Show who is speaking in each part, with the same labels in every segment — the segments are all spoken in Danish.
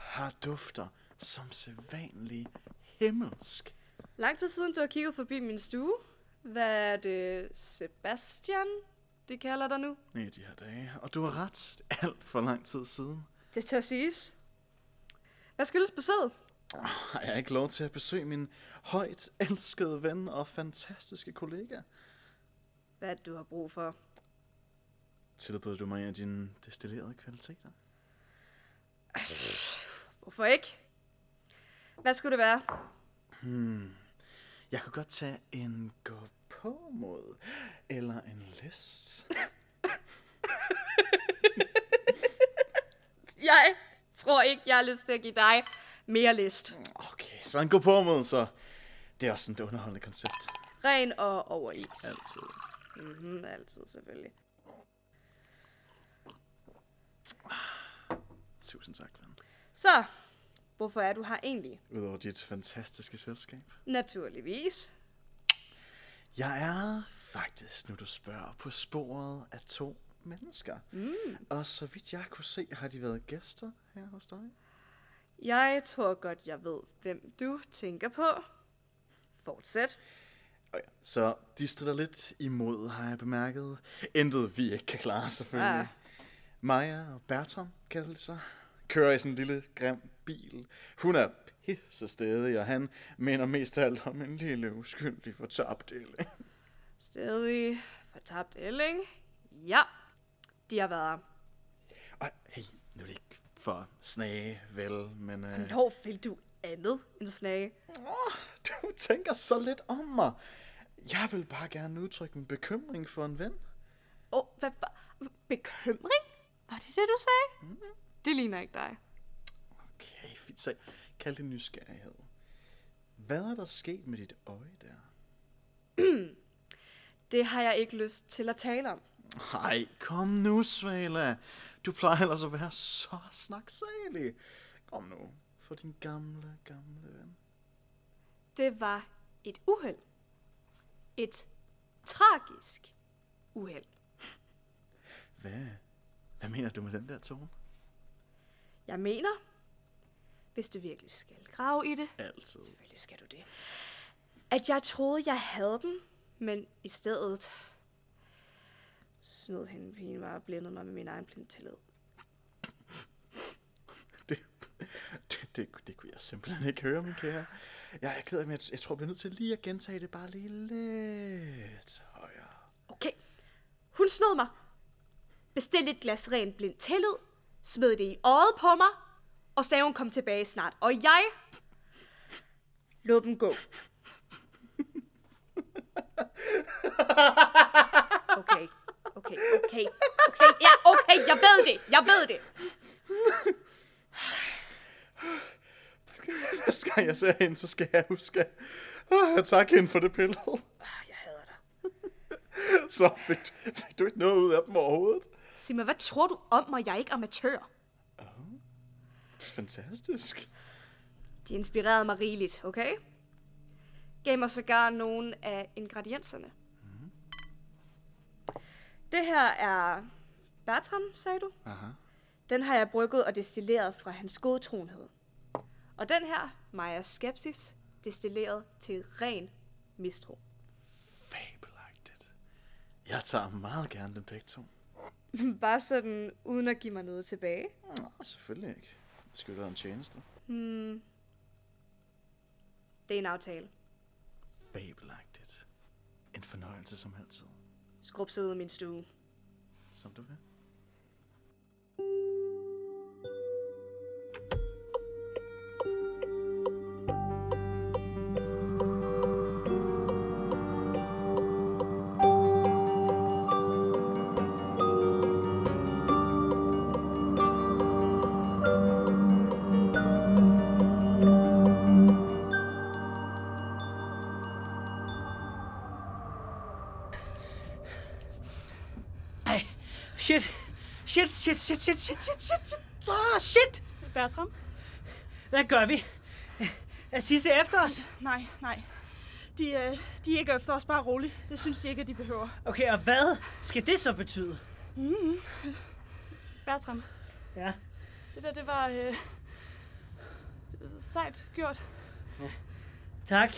Speaker 1: har dufter som sædvanlig himmelsk.
Speaker 2: Lang tid siden, du har kigget forbi min stue. Hvad er det, Sebastian, de kalder dig nu?
Speaker 1: i de her dage. Og du har ret det er alt for lang tid siden.
Speaker 2: Det tør siges. Hvad skyldes besøget?
Speaker 1: Har jeg ikke lov til at besøge min højt elskede ven og fantastiske kollega?
Speaker 2: Hvad du har brug for.
Speaker 1: Tilbød du mig en af dine destillerede kvaliteter?
Speaker 2: Hvorfor ikke? Hvad skulle det være?
Speaker 1: Jeg kunne godt tage en gå på mod, eller en list.
Speaker 2: Jeg tror ikke, jeg har lyst til at give dig mere list.
Speaker 1: Okay, så en gå på mod, så det er også et underholdende koncept.
Speaker 2: Ren og over is.
Speaker 1: Altid.
Speaker 2: Mm-hmm, altid selvfølgelig.
Speaker 1: Tusind tak, ven.
Speaker 2: Så, hvorfor er du her egentlig?
Speaker 1: Udover dit fantastiske selskab.
Speaker 2: Naturligvis.
Speaker 1: Jeg er faktisk, nu du spørger, på sporet af to mennesker. Mm. Og så vidt jeg kunne se, har de været gæster her hos dig.
Speaker 2: Jeg tror godt, jeg ved, hvem du tænker på. Fortsæt.
Speaker 1: Oh ja. Så de strider lidt imod, har jeg bemærket. Intet vi ikke kan klare, selvfølgelig.
Speaker 2: Ah.
Speaker 1: Ah. Maja og Bertram, kalder det sig, kører i sådan en lille grim bil. Hun er pisse stedig, og han minder mest af alt om en lille uskyldig fortabt elling.
Speaker 2: Stadig fortabt Elling. Ja, de har været her.
Speaker 1: Og hey, nu er det ikke for at snage, vel, men... Øh,
Speaker 2: Hvornår vil du andet end snage?
Speaker 1: åh, du tænker så lidt om mig. Jeg vil bare gerne udtrykke min bekymring for en ven.
Speaker 2: Åh, oh, hvad var... Bekymring? Var det det, du sagde? Mm. Det ligner ikke dig.
Speaker 1: Okay, fint. Så kald det nysgerrighed. Hvad er der sket med dit øje der?
Speaker 2: Det har jeg ikke lyst til at tale om.
Speaker 1: Nej, kom nu, Svala. Du plejer ellers at være så snaksalig. Kom nu, for din gamle, gamle ven.
Speaker 2: Det var et uheld. Et tragisk uheld.
Speaker 1: Hvad? Hvad mener du med den der tone?
Speaker 2: Jeg mener, hvis du virkelig skal grave i det,
Speaker 1: Altid.
Speaker 2: selvfølgelig skal du det, at jeg troede, jeg havde dem, men i stedet snød hende pigen mig og blændede mig med min egen blindtillid.
Speaker 1: Det, det, det, det kunne jeg simpelthen ikke høre, min kære. Jeg er ked af, men jeg, jeg tror, jeg bliver nødt til lige at gentage det bare lige lidt højere.
Speaker 2: Okay, hun snød mig. Bestilte et glas ren blind tillid, smed det i øjet på mig, og sagde, hun kom tilbage snart. Og jeg lod dem gå. Okay, okay, okay, okay, ja, okay, jeg ved det, jeg ved det.
Speaker 1: Næste gang jeg ser hende, så skal jeg huske at at takke hende for det pillede.
Speaker 2: Ah, Jeg hader dig.
Speaker 1: Så fik, fik du ikke noget ud af dem overhovedet?
Speaker 2: Sig mig, hvad tror du om mig? Jeg er ikke amatør.
Speaker 1: Fantastisk.
Speaker 2: De inspirerede mig rigeligt, okay? Gav mig sågar nogle af ingredienserne. Mhm. Det her er Bertram, sagde du?
Speaker 1: Aha.
Speaker 2: Den har jeg brygget og destilleret fra hans godtroenhed. Og den her, Majas skepsis, destilleret til ren mistro.
Speaker 1: Fabelagtigt. Jeg tager meget gerne dem begge to.
Speaker 2: Bare sådan, uden at give mig noget tilbage.
Speaker 1: Nå, selvfølgelig ikke. Jeg skal jo gøre en tjeneste.
Speaker 2: Det er en aftale.
Speaker 1: Fabelagtigt. En fornøjelse som altid.
Speaker 2: Skrub ud af min stue.
Speaker 1: Som du vil.
Speaker 3: Ej, shit. Shit, shit, shit, shit, shit, shit, shit, shit. Oh, shit.
Speaker 2: Bertram?
Speaker 3: Hvad gør vi? Er sidste efter os?
Speaker 4: Nej, nej. De, øh, de er ikke efter os, bare roligt. Det synes de ikke, at de behøver.
Speaker 3: Okay, og hvad skal det så betyde?
Speaker 4: Bertram,
Speaker 3: Ja.
Speaker 4: det der, det var... Øh, sejt gjort.
Speaker 3: Tak.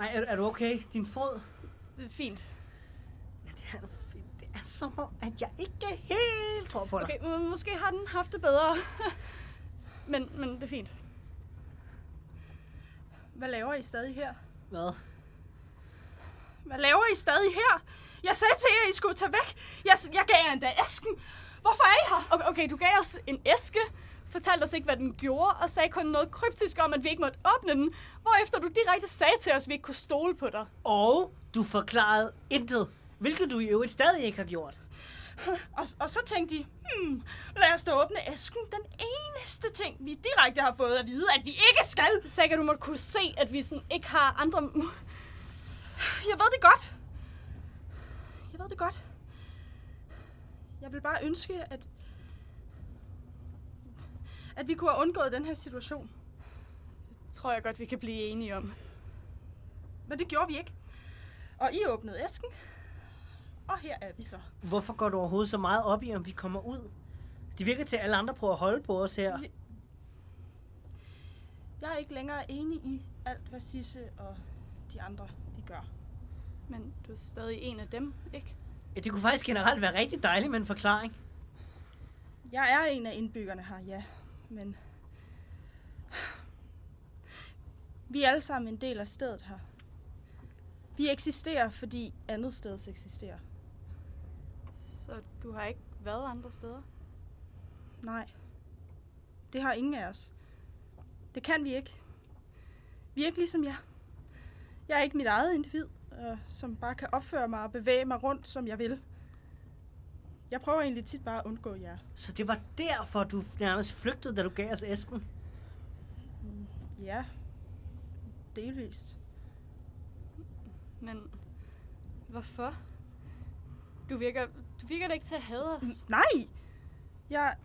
Speaker 3: Ej, er, er du okay? Din fod?
Speaker 4: Det er fint.
Speaker 3: Ja, det er, det er som om, at jeg ikke helt tror på dig.
Speaker 4: Okay, må- måske har den haft det bedre. men, men det er fint. Hvad laver I stadig her?
Speaker 3: Hvad?
Speaker 4: Hvad laver I stadig her? Jeg sagde til jer, at I skulle tage væk. Jeg, jeg gav jer endda æsken. Hvorfor er I her? Okay, okay, du gav os en æske, fortalte os ikke, hvad den gjorde, og sagde kun noget kryptisk om, at vi ikke måtte åbne den, hvorefter du direkte sagde til os, at vi ikke kunne stole på dig.
Speaker 3: Og du forklarede intet, hvilket du i øvrigt stadig ikke har gjort.
Speaker 4: Og, og så tænkte de, hmm, lad os da åbne æsken. Den eneste ting, vi direkte har fået at vide, at vi ikke skal.
Speaker 2: Sikkert du måtte kunne se, at vi sådan ikke har andre... mu-
Speaker 4: Jeg ved det godt. Jeg ved det godt. Jeg vil bare ønske, at... At vi kunne have undgået den her situation.
Speaker 2: Tror jeg godt, vi kan blive enige om.
Speaker 4: Men det gjorde vi ikke. Og I åbnede æsken. Og her er vi så.
Speaker 3: Hvorfor går du overhovedet så meget op i, om vi kommer ud? Det virker til, at alle andre prøver at holde på os her.
Speaker 4: Jeg er ikke længere enig i alt, hvad Sisse og de andre de gør.
Speaker 2: Men du er stadig en af dem, ikke?
Speaker 3: Ja, det kunne faktisk generelt være rigtig dejligt med en forklaring.
Speaker 4: Jeg er en af indbyggerne her, ja. Men... Vi er alle sammen en del af stedet her. Vi eksisterer, fordi andet sted eksisterer.
Speaker 2: Så du har ikke været andre steder?
Speaker 4: Nej. Det har ingen af os. Det kan vi ikke. Vi er ikke ligesom jeg. Jeg er ikke mit eget individ, øh, som bare kan opføre mig og bevæge mig rundt, som jeg vil. Jeg prøver egentlig tit bare at undgå jer.
Speaker 3: Så det var derfor, du nærmest flygtede, da du gav os æsken.
Speaker 4: Ja. Delvist.
Speaker 2: Men hvorfor? Du virker, du virker da ikke til at hade os.
Speaker 4: Nej! Jeg...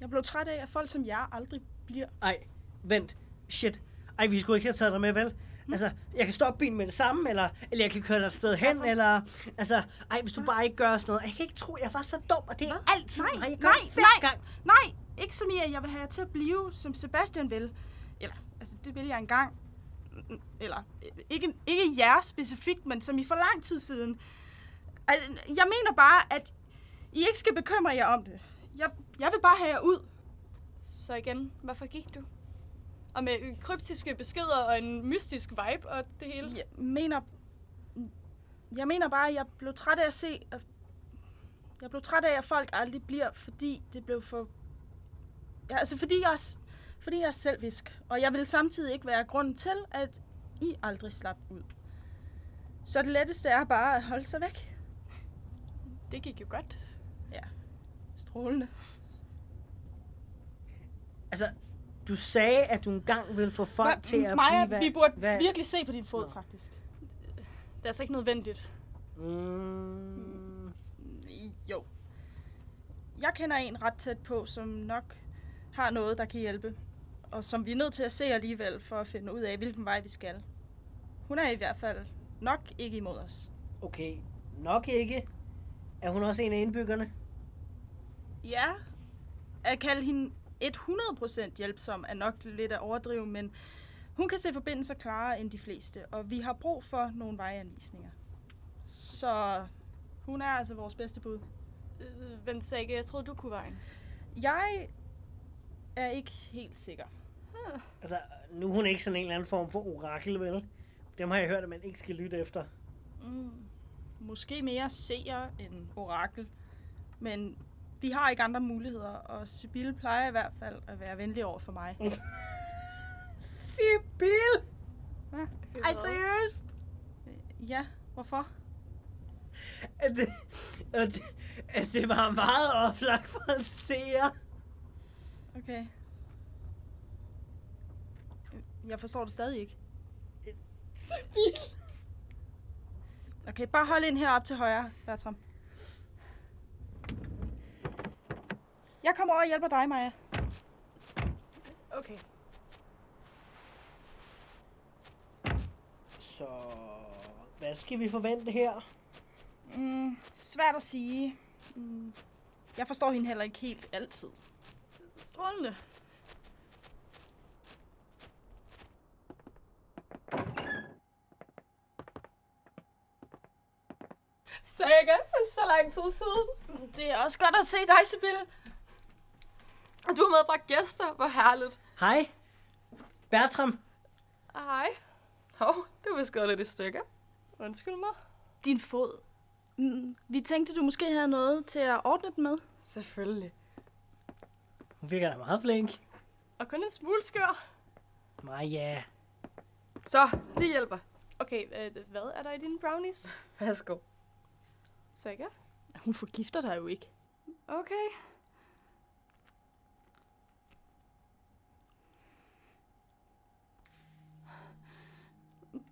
Speaker 4: Jeg blev træt af, at folk som jer aldrig bliver...
Speaker 3: Ej, vent. Shit. Ej, vi skulle ikke have taget dig med, vel? Altså, jeg kan stoppe bilen med det samme, eller, eller jeg kan køre dig et sted hen, eller... Altså, ej, hvis du bare ikke gør sådan noget. Jeg kan ikke tro, jeg var så dum, og det er altid,
Speaker 4: Nej,
Speaker 3: og jeg gør
Speaker 4: nej,
Speaker 3: det hver
Speaker 4: nej,
Speaker 3: gang.
Speaker 4: nej! Ikke som I, at jeg vil have jer til at blive, som Sebastian vil. Eller, altså, det vil jeg engang. Eller, øh, ikke, ikke jer specifikt, men som I for lang tid siden. Altså, Jeg mener bare, at I ikke skal bekymre jer om det. Jeg, jeg vil bare have jer ud.
Speaker 2: Så igen, hvorfor gik du? Og med kryptiske beskeder og en mystisk vibe og det hele.
Speaker 4: Jeg mener... Jeg mener bare, at jeg blev træt af at se... At jeg blev træt af, at folk aldrig bliver, fordi det blev for... Ja, altså fordi jeg, s- fordi jeg er selvisk. Og jeg vil samtidig ikke være grunden til, at I aldrig slap ud. Så det letteste er bare at holde sig væk.
Speaker 2: Det gik jo godt.
Speaker 4: Strålende.
Speaker 3: Altså, du sagde, at du engang ville få folk til at blive...
Speaker 4: Maja,
Speaker 3: hvad-
Speaker 4: vi burde
Speaker 3: hvad-
Speaker 4: virkelig se på din fod,
Speaker 3: Nå.
Speaker 4: faktisk.
Speaker 2: Det er altså ikke nødvendigt.
Speaker 3: Mm,
Speaker 4: Jo. Jeg kender en ret tæt på, som nok har noget, der kan hjælpe. Og som vi er nødt til at se alligevel, for at finde ud af, hvilken vej vi skal. Hun er i hvert fald nok ikke imod os.
Speaker 3: okay, nok ikke. Er hun også en af indbyggerne?
Speaker 4: Ja, at kalde hende 100% hjælpsom er nok lidt at overdrive, men hun kan se forbindelser klarere end de fleste, og vi har brug for nogle vejanvisninger. Så hun er altså vores bedste bud.
Speaker 2: Øh, Vent, Sække, jeg troede, du kunne vejen.
Speaker 4: Jeg er ikke helt sikker.
Speaker 3: Altså, nu er hun ikke sådan en eller anden form for orakel, vel? Dem har jeg hørt, at man ikke skal lytte efter.
Speaker 4: Mm. Måske mere seer end orakel. Men vi har ikke andre muligheder, og Sibylle plejer i hvert fald at være venlig over for mig.
Speaker 3: Sibyl! Ej,
Speaker 2: Hvad?
Speaker 3: seriøst?
Speaker 4: Ja, hvorfor?
Speaker 3: At det, at, det- at det var meget oplagt for en seer.
Speaker 4: Okay. Jeg forstår det stadig ikke.
Speaker 3: Sibyl!
Speaker 4: Okay, bare hold ind heroppe til højre, Bertram. Jeg kommer over og hjælper dig, Maja.
Speaker 2: Okay.
Speaker 3: Så hvad skal vi forvente her?
Speaker 4: Mm, svært at sige. Mm, jeg forstår hende heller ikke helt altid.
Speaker 2: Strålende.
Speaker 5: saga for så lang tid siden. Det er også godt at se dig, Sibylle. Og du har medbragt gæster. Hvor herligt.
Speaker 3: Hej. Bertram.
Speaker 5: Hej. Hov, du er vist gået lidt i stykker. Undskyld mig.
Speaker 4: Din fod. Mm, vi tænkte, du måske havde noget til at ordne den med.
Speaker 5: Selvfølgelig.
Speaker 3: Hun virker da meget flink.
Speaker 5: Og kun en smule skør.
Speaker 3: Maja.
Speaker 5: Så, det hjælper. Okay, øh, hvad er der i dine brownies? Værsgo. Sikker?
Speaker 4: Hun forgifter dig jo ikke.
Speaker 5: Okay.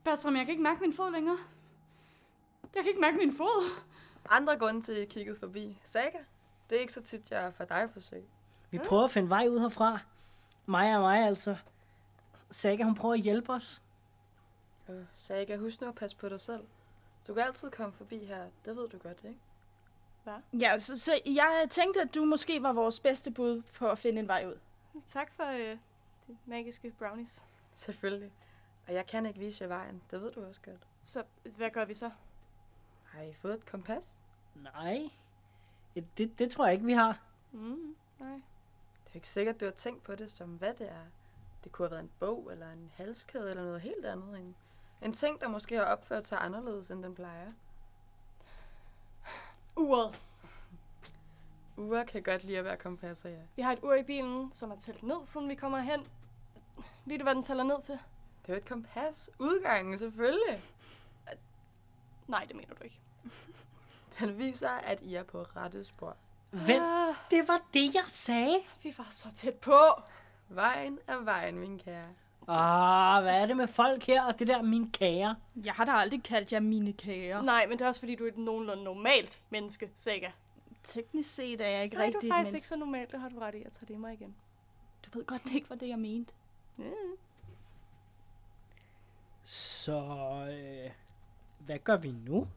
Speaker 4: Bertram, jeg kan ikke mærke min fod længere. Jeg kan ikke mærke min fod.
Speaker 5: Andre grunde til, at I kiggede forbi. Saga, det er ikke så tit, jeg får dig på besøg.
Speaker 3: Vi prøver at finde vej ud herfra. Maja og mig altså. Saga, hun prøver at hjælpe os.
Speaker 5: Og Saga, husk nu at passe på dig selv. Du kan altid komme forbi her. Det ved du godt, ikke?
Speaker 4: Ja, så, så jeg tænkte, at du måske var vores bedste bud på at finde en vej ud.
Speaker 5: Tak for øh, de magiske brownies. Selvfølgelig. Og jeg kan ikke vise jer vejen. Det ved du også godt.
Speaker 4: Så hvad gør vi så?
Speaker 5: Har I fået et kompas?
Speaker 3: Nej. Ja, det, det tror jeg ikke, vi har.
Speaker 5: Mm, nej. Det er ikke sikkert, du har tænkt på det som, hvad det er. Det kunne have været en bog, eller en halskæde, eller noget helt andet. End en ting, der måske har opført sig anderledes, end den plejer.
Speaker 6: Uret.
Speaker 5: Ure kan godt lide at være kompasser, ja.
Speaker 6: Vi har et ur i bilen, som er talt ned, siden vi kommer hen. Ved du, hvad den tæller ned til?
Speaker 5: Det er jo et kompas. Udgangen, selvfølgelig.
Speaker 6: Nej, det mener du ikke.
Speaker 5: Den viser, at I er på rette spor.
Speaker 3: Vent, det var det, jeg sagde.
Speaker 6: Vi var så tæt på.
Speaker 5: Vejen er vejen, min kære.
Speaker 3: Ah, hvad er det med folk her og det der min kære?
Speaker 4: Jeg har da aldrig kaldt jer mine kære.
Speaker 6: Nej, men det er også, fordi du er et nogenlunde normalt menneske, Saga.
Speaker 4: Teknisk set er jeg ikke
Speaker 6: Nej,
Speaker 4: rigtig
Speaker 6: du er
Speaker 4: et
Speaker 6: faktisk
Speaker 4: menneske.
Speaker 6: ikke så normal. Det har du ret i. Jeg tager det i mig igen.
Speaker 4: Du ved godt, det ikke var det, jeg mente.
Speaker 3: Så øh, hvad gør vi nu?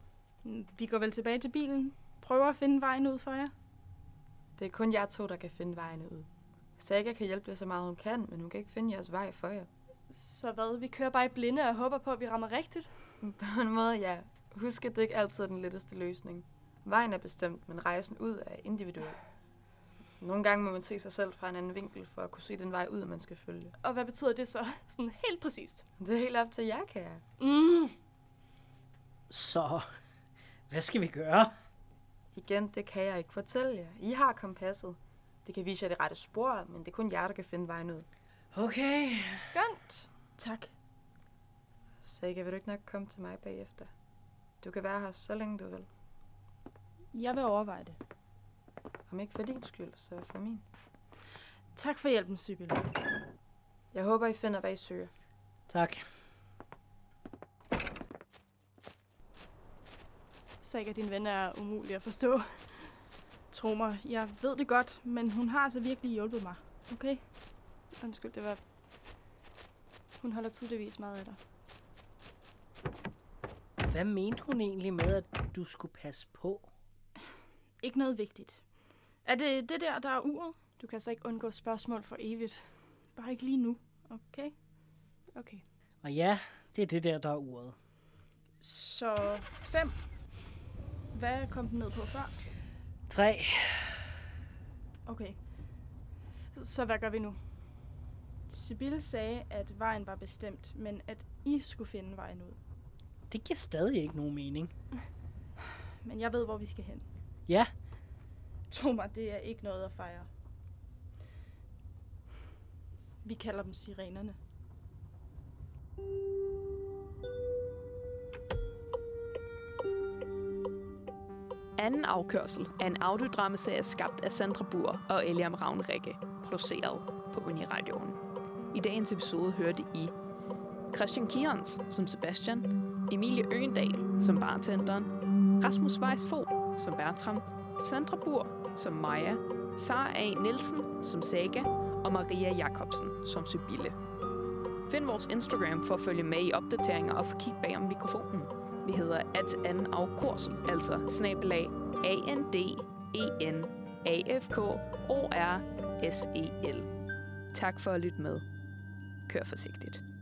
Speaker 4: Mm, Vi går vel tilbage til bilen. Prøver at finde vejen ud for jer.
Speaker 5: Det er kun jer to, der kan finde vejen ud. Saga kan hjælpe jer så meget, hun kan, men hun kan ikke finde jeres vej for jer.
Speaker 6: Så hvad? Vi kører bare i blinde og håber på, at vi rammer rigtigt.
Speaker 5: På en måde, ja. Husk, at det ikke altid er den letteste løsning. Vejen er bestemt, men rejsen ud er individuel. Nogle gange må man se sig selv fra en anden vinkel, for at kunne se den vej ud, man skal følge.
Speaker 6: Og hvad betyder det så sådan helt præcist?
Speaker 5: Det er helt op til jer, kære.
Speaker 6: Mm.
Speaker 3: Så hvad skal vi gøre?
Speaker 5: Igen, det kan jeg ikke fortælle jer. I har kompasset. Det kan vise jer det rette spor, men det er kun jer, der kan finde vejen ud.
Speaker 3: Okay.
Speaker 6: Skønt.
Speaker 4: Tak.
Speaker 5: Saga, vil du ikke nok komme til mig bagefter? Du kan være her så længe du vil.
Speaker 4: Jeg vil overveje det.
Speaker 5: Om ikke for din skyld, så for min.
Speaker 4: Tak for hjælpen, Sybil.
Speaker 5: Jeg håber, I finder, hvad I søger.
Speaker 3: Tak.
Speaker 6: Saga, din ven er umulig at forstå.
Speaker 4: Tro mig, jeg ved det godt, men hun har altså virkelig hjulpet mig. Okay?
Speaker 6: Undskyld, det var... Hun holder tydeligvis meget af dig.
Speaker 3: Hvad mente hun egentlig med, at du skulle passe på?
Speaker 4: Ikke noget vigtigt. Er det det der, der er uret?
Speaker 6: Du kan altså ikke undgå spørgsmål for evigt.
Speaker 4: Bare ikke lige nu. Okay?
Speaker 6: Okay.
Speaker 3: Og ja, det er det der, der er uret.
Speaker 4: Så 5. Hvad kom den ned på før?
Speaker 3: Tre.
Speaker 4: Okay.
Speaker 6: Så hvad gør vi nu?
Speaker 4: Sibylle sagde, at vejen var bestemt, men at I skulle finde vejen ud.
Speaker 3: Det giver stadig ikke nogen mening.
Speaker 4: Men jeg ved, hvor vi skal hen.
Speaker 3: Ja,
Speaker 4: Tro mig, det er ikke noget at fejre. Vi kalder dem sirenerne.
Speaker 7: Anden afkørsel er en audiodramaserie skabt af Sandra Bur og Eliam Ravnrække, produceret på Uniradioen. I dagens episode hørte I Christian Kierens som Sebastian, Emilie Øgendal som bartenderen, Rasmus Weiss Fogh som Bertram, Sandra Bur som Maja, Sara A. Nielsen som Saga og Maria Jakobsen som Sybille. Find vores Instagram for at følge med i opdateringer og få kig bag om mikrofonen. Vi hedder at anden afkors, altså snabelag a n d e n a f k o r s e l Tak for at lytte med. Kør forsigtigt.